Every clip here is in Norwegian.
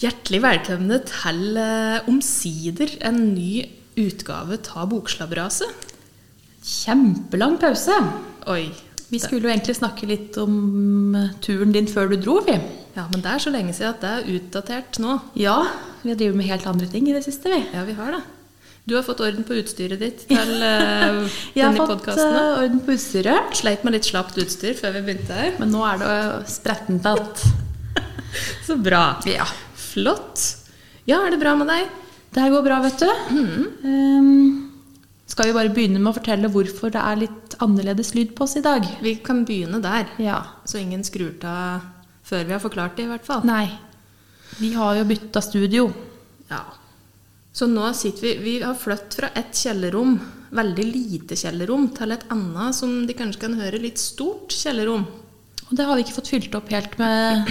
Hjertelig velkomne til eh, omsider en ny utgave av Bokslabberaset. Kjempelang pause. Oi. Vi skulle jo egentlig snakke litt om eh, turen din før du dro, vi. Ja, men det er så lenge siden at det er utdatert nå. Ja, vi har drevet med helt andre ting i det siste, vi. Ja, vi har det. Du har fått orden på utstyret ditt til eh, Jeg denne har fått podkasten. eh, orden på utstyret, Sleit med litt slapt utstyr før vi begynte her. men nå er det eh, sprettent at Så bra. Ja. Flott. Ja, er det bra med deg? Det her går bra, vet du. Mm. Eh, skal vi bare begynne med å fortelle hvorfor det er litt annerledes lyd på oss i dag? Vi kan begynne der, Ja. så ingen skrur av før vi har forklart det, i hvert fall. Nei. Vi har jo bytta studio. Ja. Så nå sitter vi Vi har flytt fra et kjellerrom, veldig lite kjellerrom, til et annet som de kanskje kan høre litt stort kjellerrom. Og det har vi ikke fått fylt opp helt med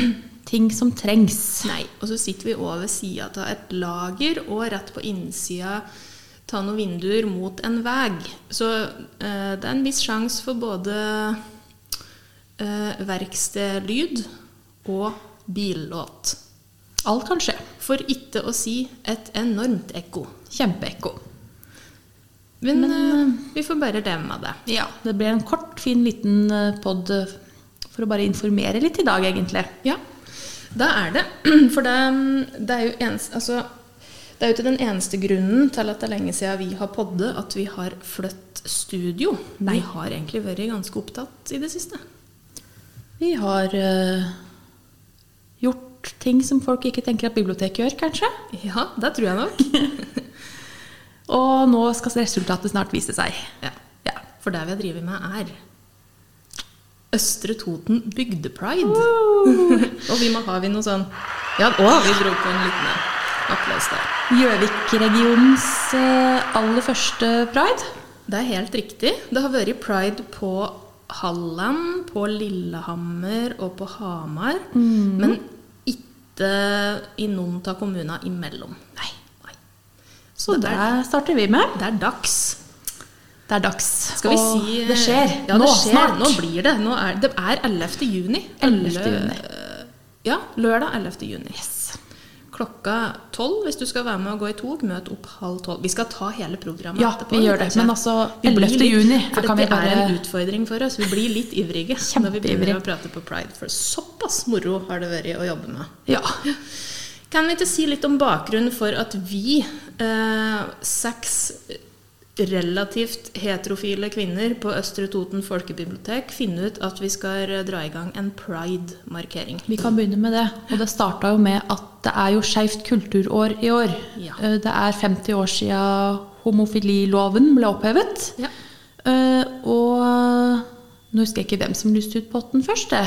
ting som trengs. Nei. Og så sitter vi over ved sida av et lager, og rett på innsida ta noen vinduer mot en vei. Så eh, det er en viss sjanse for både eh, verkstedlyd og billåt. Alt kan skje. For ikke å si et enormt ekko. Kjempeekko. Men, eh, vi får bare leve med det. Ja, det blir en kort, fin liten pod for å bare informere litt i dag, egentlig. Ja, det er det. For det, mm, det er jo ens, altså, det er jo ikke den eneste grunnen til at det er lenge siden vi har podde, at vi har flytt studio. Nei. Vi har egentlig vært ganske opptatt i det siste. Vi har eh, gjort ting som folk ikke tenker at biblioteket gjør, kanskje. Ja, det tror jeg nok. Og nå skal resultatet snart vise seg. ja. For det vi har drevet med, er Østre Toten bygdepride. Og vi må ha vi noe sånn Ja, å, vi dro på en liten applaus der. Gjøvik-regionens eh, aller første pride. Det er helt riktig. Det har vært pride på Halland, på Lillehammer og på Hamar. Mm. Men ikke i noen av kommunene imellom. Nei. Nei. Så Så det det er, starter vi med. det er dags. Det er dags. Skal vi Og si eh, Det skjer. Ja, nå, det skjer. snart. Nå blir det. Nå er, det er 11. juni. 11. Lø- juni. Ja, lørdag 11. juni. Klokka tolv, hvis du skal være med og gå i tog, møt opp halv tolv. Vi skal ta hele programmet Ja, vi gjør det. tenker jeg. Men altså, Vi blir 11. litt- juni, For da kan vi dette er bare- en utfordring for oss. Vi blir litt ivrige når vi begynner Kjempeivrig. å prate på Pride. For såpass moro har det vært å jobbe med. Ja. Kan vi ikke si litt om bakgrunnen for at vi, eh, seks relativt heterofile kvinner på Østre Toten folkebibliotek, finner ut at vi skal eh, dra i gang en pride-markering? Vi kan begynne med det. Og det starta jo med at det er jo skeivt kulturår i år. Ja. Eh, Det er 50 år sia homofililoven ble opphevet. Ja. Eh, Og nå husker jeg ikke hvem som lyste ut potten først. Det.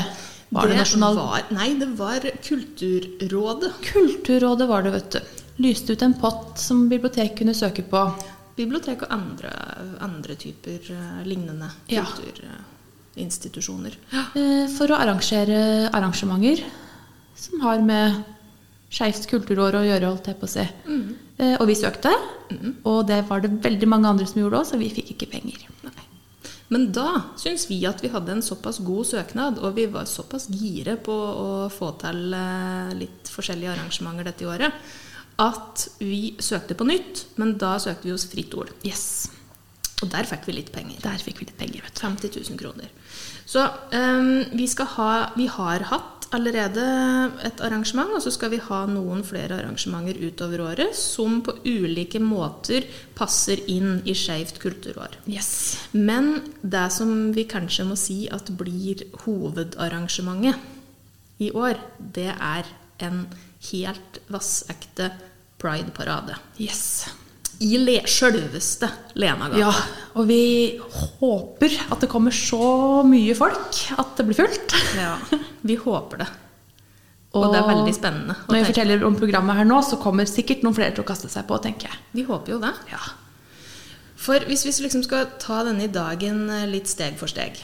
Var det, nasjonal... var- Nei, det var Kulturrådet. Kulturrådet var det, vet du. Lyste ut en pott som biblioteket kunne søke på. Bibliotek og andre, andre typer eh, lignende Ja. kulturinstitusjoner. eh, For å arrangere arrangementer som har med skeivt kulturår å gjøre, holdt jeg på å si. Mm. Eh, Og vi søkte, og det var det veldig mange andre som gjorde òg, så vi fikk ikke penger. Nei. Men da syns vi at vi hadde en såpass god søknad, og vi var såpass gire på å få til eh, litt forskjellige arrangementer dette året, at vi søkte på nytt, men da søkte vi hos Fritt Ord. Yes. Og der fikk vi litt penger. Der fikk vi litt penger, vet du. 50 000 kroner. Så eh, vi, skal ha, vi har hatt allerede et arrangement, og så skal vi ha noen flere arrangementer utover året som på ulike måter passer inn i Skeivt kulturår. Yes. Men det som vi kanskje må si at blir hovedarrangementet i år, det er en helt vassekte prideparade. yes. I le sjølveste Lenagata. Ja, og vi håper at det kommer så mye folk at det blir fullt. Ja, Vi håper det. Og, det er veldig spennende. å Når jeg tenke. forteller om programmet her nå, så kommer sikkert noen flere til å kaste seg på, tenker jeg. Vi håper jo det. Ja. For hvis vi liksom skal ta denne dagen eh, litt steg for steg,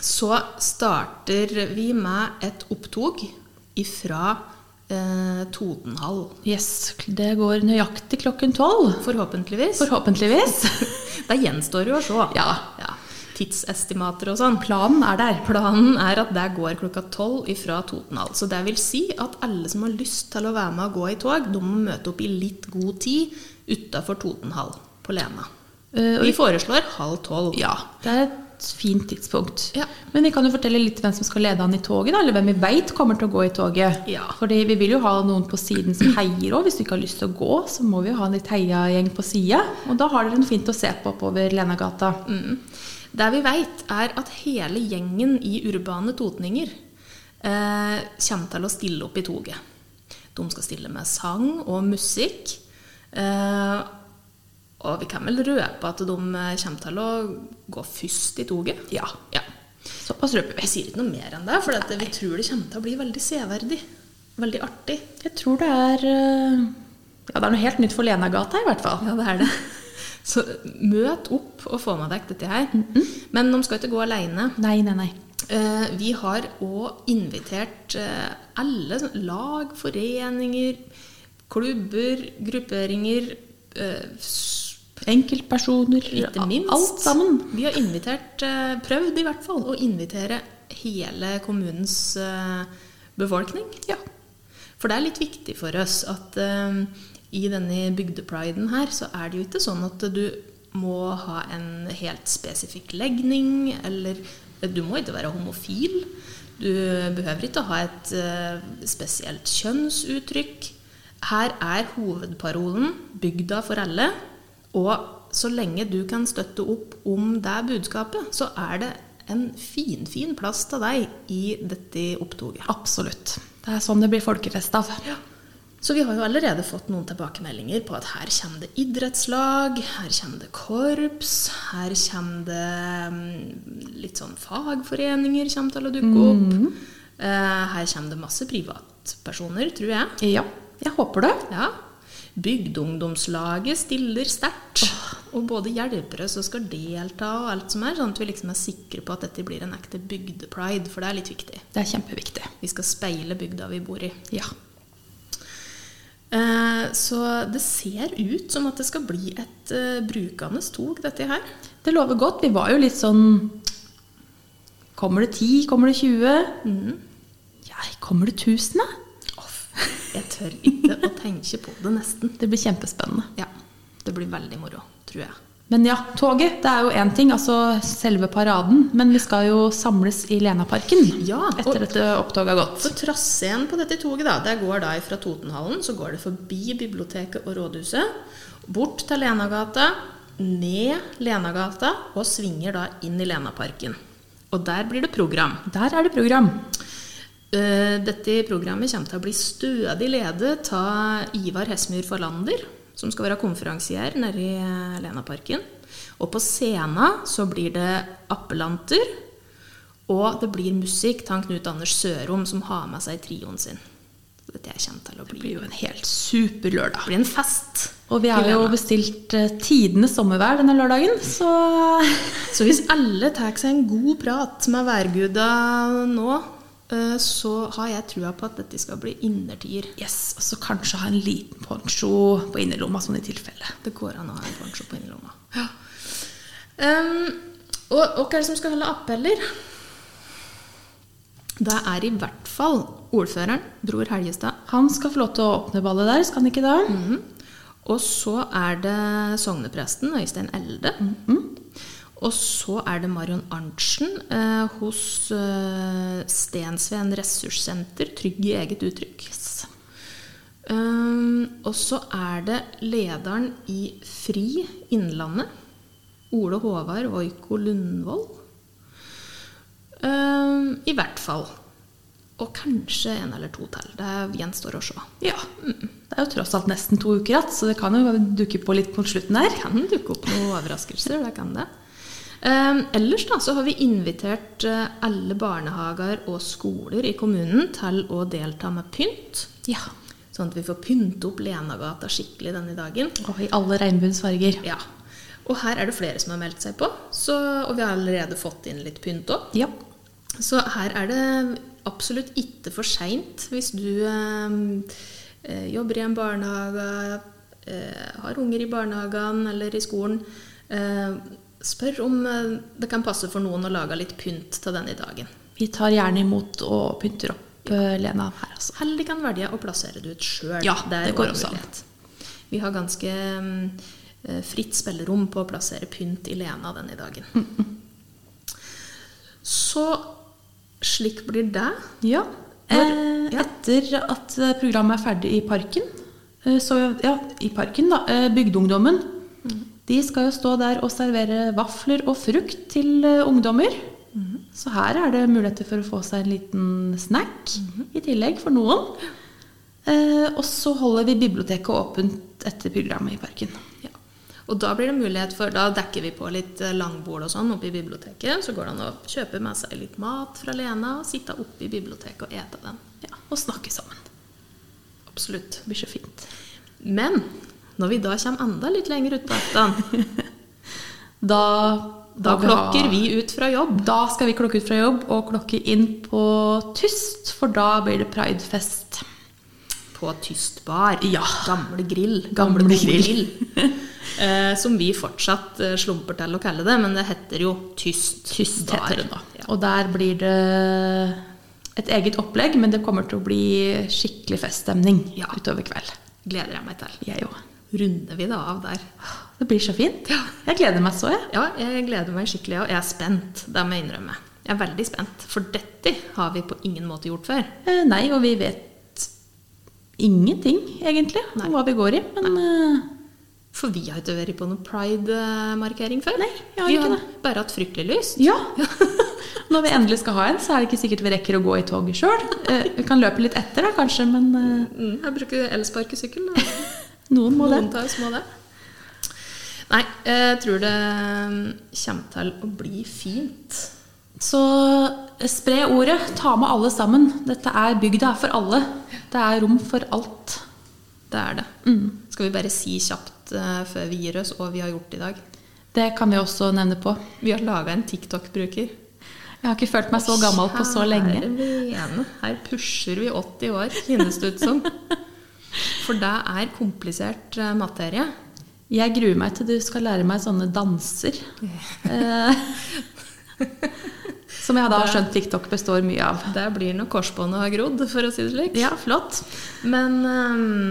så starter vi med et opptog ifra eh, Totenhall. Yes, det går nøyaktig klokken tolv. Forhåpentligvis. Forhåpentligvis. Det gjenstår jo å se. Ja. tidsestimater og sånn. Planen er der. Planen er at det går klokka tolv ifra Totenhall. Så det vil si at alle som har lyst til å være med og gå i tog, de må møte opp i litt god tid utafor Totenhall på Lena. Eh, og Vi foreslår halv tolv. Ja, det er et fint tidspunkt. Ja. Men vi kan jo fortelle litt hvem som skal lede an i toget, da, eller hvem vi veit kommer til å gå i toget. Ja. Fordi vi vil jo ha noen på siden som heier òg. Hvis du ikke har lyst til å gå, så må vi jo ha en litt heiagjeng på sida. Og da har dere noe fint å se på oppover Lenagata. Mm. Det vi veit, er at hele gjengen i urbane totninger eh, kommer til å stille opp i toget. De skal stille med sang og musikk. Eh, og vi kan vel røpe at de eh, kommer til å gå først i toget? Ja. ja. Såpass røper vi. Vi sier ikke noe mer enn det, for at vi tror det kommer til å bli veldig severdig. Veldig artig. Jeg tror det er eh, Ja, det er noe helt nytt for Lenagata, i hvert fall. Ja, det er det. Så møt opp og få med deg dette her. Men de skal ikke gå aleine. Nei, nei, nei. Eh, vi har òg invitert eh, alle sånn lag, foreninger, klubber, grupperinger eh, s- Enkeltpersoner, Ikke minst. alt sammen. Vi har invitert, eh, prøvd i hvert fall, å invitere hele kommunens eh, befolkning. Ja. For det er litt viktig for oss at eh, i denne bygdepriden her, så er det jo ikke sånn at du må ha en helt spesifikk legning, eller eh, du må ikke være homofil. Du behøver ikke å ha et eh, spesielt kjønnsuttrykk. Her er hovedparolen 'bygda for alle', og så lenge du kan støtte opp om det budskapet, så er det en finfin fin plass til deg i dette opptoget. Absolutt. Det er sånn det blir folkefest av. Så vi har jo allerede fått noen tilbakemeldinger på at her kommer det idrettslag, her kommer det korps, her kommer det mm, litt sånn fagforeninger kommer til å dukke opp. Eh, her kommer det masse privatpersoner, tror jeg. Ja. Jeg håper det. Ja. Bygdeungdomslaget stiller sterkt. Og både hjelpere som skal delta og alt som er, sånn at vi liksom er sikre på at dette blir en ekte bygdepride, for det er litt viktig. Det er kjempeviktig. Vi skal speile bygda vi bor i. Ja. Eh, Så det ser ut som at det skal bli et eh, brukende tog, dette her. Det lover godt. Vi var jo litt sånn Kommer det 10? Kommer det 20? Mm. Ja, kommer det 1000, da? Jeg tør ikke å tenke på det nesten. Det blir kjempespennende. Ja, Det blir veldig moro, tror jeg. Men ja, toget det er jo én ting, altså selve paraden. Men vi skal jo samles i Lenaparken Ja, og- etter dette opptoget har gått. Så traseen på dette toget da, det går da fra Totenhallen, så går det forbi biblioteket og rådhuset, bort til Lenagata, ned Lenagata og svinger da inn i Lenaparken. Og der blir det program. Der er det program. Eh, Dette programmet kommer til å bli stødig ledet av Ivar Hesmyr Forlander, som skal være konferansier nede i eh, Lenaparken. Og på scenen så blir det appellanter, og det blir musikk av Knut Anders Sørom, som har med seg trioen sin. Så dette her kommer til å Det bli, blir jo en helt super lørdag. bli en fest. Og vi har i jo Lena. bestilt eh, tidenes sommervær denne lørdagen, så Så hvis alle tar seg en god prat med værguda nå, eh, så har jeg trua på at dette skal bli innertier. Yes. Og så kanskje ha en liten poncho på innerlomma, sånn i tilfelle. Det går an å ha en poncho på innerlomma. Ehm, og og hva er det som skal holde appeller? Det er i hvert fall ordføreren, Bror Helgestad. Han skal få lov til å åpne ballet der, skal han ikke da? Mhm. Og så er det sognepresten, Øystein Elde. Og så er det Marion Arntzen eh, hos eh, Stensveen ressurssenter, Trygg i eget uttrykk. Ehm, og så er det lederen i FRI Innlandet, Ole Håvard Oiko Lundvold. Ehm, I hvert fall. Og kanskje en eller to til. Det gjenstår å se. Ja. mm. Det er jo tross alt nesten to uker igjen, så det kan jo dukke på litt mot slutten her. kan dukke opp noen overraskelser. Det kan det. Eh, ellers da, så har vi invitert eh, alle barnehager og skoler i kommunen til å delta med pynt. Ja. Sånn at vi får pynte opp Lenagata skikkelig denne dagen. Og i alle regnbuens farger. Ja. Og her er det flere som har meldt seg på, så, og vi har allerede fått inn litt pynt òg. Ja. Så her er det absolutt ikke for seint hvis du eh, eh, jobber i en barnehage, eh, har unger i barnehagen eller i skolen, eh, Spør om eh, det kan passe for noen å lage litt pynt til denne dagen. Vi tar gjerne imot og pynter opp eh, Lena her, altså. Heller kan velge å plassere det ut sjøl. Ja, det går også an. Vi har ganske mm, eh, fritt spillerom på å plassere pynt i Lena denne dagen. Så slik blir det. Ja. Når- eh, ja. Etter at eh, programmet er ferdig i parken, eh, så ja, i parken da, eh, bygdeungdommen, Mm. de skal jo stå der og servere vafler og frukt til eh, ungdommer. Mm. Så her er det muligheter for å få seg en liten snack Mm. i tillegg for noen. Eh, og så holder vi biblioteket åpent etter programmet i parken. Ja. Og da blir det mulighet for, da dekker vi på litt eh, langbord og sånn oppe i biblioteket. Så går det an å kjøpe med seg litt mat fra Lena og sitte oppe i biblioteket og ete den. Ja, og snakke sammen. Absolutt. Det blir så fint. Men når vi da kommer enda litt lenger utpå ettermiddagen, Da, da må vi ha- klokker vi ut fra jobb. Da skal vi klokke ut fra jobb og klokke inn på Tyst, for da blir det pridefest. På Tystbar. Ja. Gamle grill. Gamle gode grill. eh, som vi fortsatt eh, slumper til å kalle det, men det heter jo Tyst. Tyst heter det nå. Ja. Og der blir det et eget opplegg, men det kommer til å bli skikkelig feststemning Ja. utover kveld. Gleder jeg meg til. Jeg òg. Runder vi det av der? Det blir så fint. Jeg gleder meg så, jeg. Ja, jeg gleder meg skikkelig, og jeg er spent. Det må jeg innrømme. Jeg er veldig spent, for dette har vi på ingen måte gjort før. Eh, Nei, og vi vet ingenting, egentlig, Nei. om hva vi går i. Men eh, For vi har ikke vært på noen pride-markering før. Nei, jeg har vi ikke har det. bare hatt fryktelig lyst. ja. Når vi endelig skal ha en, så er det ikke sikkert vi rekker å gå i toget sjøl. Vi kan løpe litt etter, da, kanskje, men eh, Mm, jeg bruker elsparkesykkel. da. noen må det. Noen tar små det. Nei, jeg tror det mm, kommer til å bli fint. Så eh, spre ordet. Ta med alle sammen. Dette er bygda er for alle. Det er rom for alt. Det er det. Mm. Skal vi bare si kjapt eh, før vi gir oss hva vi har gjort i dag? Det kan vi også nevne på. Vi har laga en TikTok-bruker. Jeg har ikke følt meg så gammel på så lenge. Kjære vene, Her pusher vi 80 år, finnes det ut som. For det er komplisert eh, materie. Jeg gruer meg til du skal lære meg sånne danser. Eh, som jeg da har skjønt TikTok består mye av. Der blir nok korsbåndet har grodd, for å si det slik. Ja, flott. Men, ehm,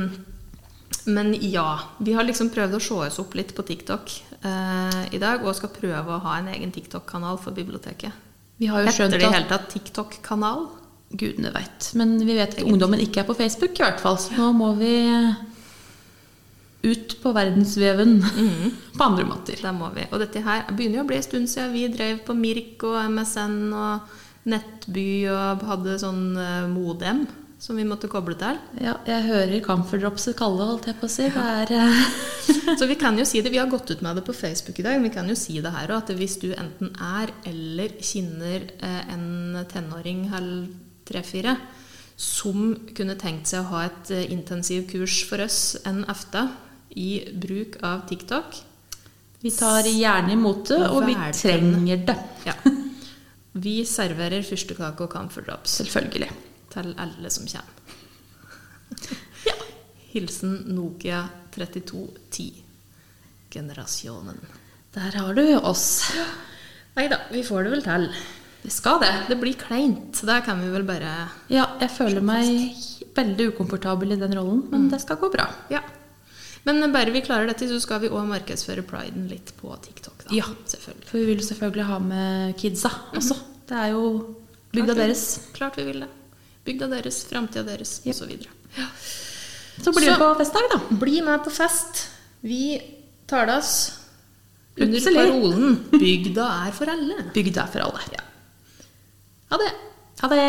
men ja. Vi har liksom prøvd å se oss opp litt på TikTok eh, i dag, og skal prøve å ha en egen TikTok-kanal for biblioteket. Vi har jo Heter skjønt det i at hele tatt TikTok-kanal? Gudene veit. Men vi vet at ungdommen ikke er på Facebook, i hvert fall. Så nå må vi ut på verdensveven på andre måter. Det må vi. Og dette her begynner jo å bli en stund siden vi drev på Mirk og MSN og Nettby og hadde sånn eh, modem som vi måtte koble til. Ja, jeg hører camferdropset kalle, holdt jeg på å si. Det er, eh, Så vi kan jo si det, vi har gått ut med det på Facebook i dag, men vi kan jo si det her også, at hvis du enten er eller kjenner eh, en tenåring eller tre-fire som kunne tenkt seg å ha et eh, intensivkurs for oss en aften i bruk av TikTok, vi tar gjerne imot det, og vi Verden. trenger det. ja. Vi serverer fyrstekake og camphor drops Selvfølgelig. til alle som kommer. Hilsen Nokia 3210. Generasjonen. Der har du oss. Nei da, vi får det vel til. Vi skal det. Det blir kleint. Det kan vi vel bare Ja, jeg føler meg veldig ukomfortabel i den rollen, men det skal gå bra. Ja. Men bare vi klarer dette, så skal vi òg markedsføre priden litt på TikTok. da. Ja. Selvfølgelig. For vi vil selvfølgelig ha med kidsa også. Det er jo bygda Klart vi- deres. Klart vi vil det. Bygda deres, framtida deres, og osv. videre. Så blir Så- det på festdag, da. Bli med på fest. Vi tales under Plutselig. parolen 'Bygda er for alle'. Bygda er for alle. Ha det. Ha det.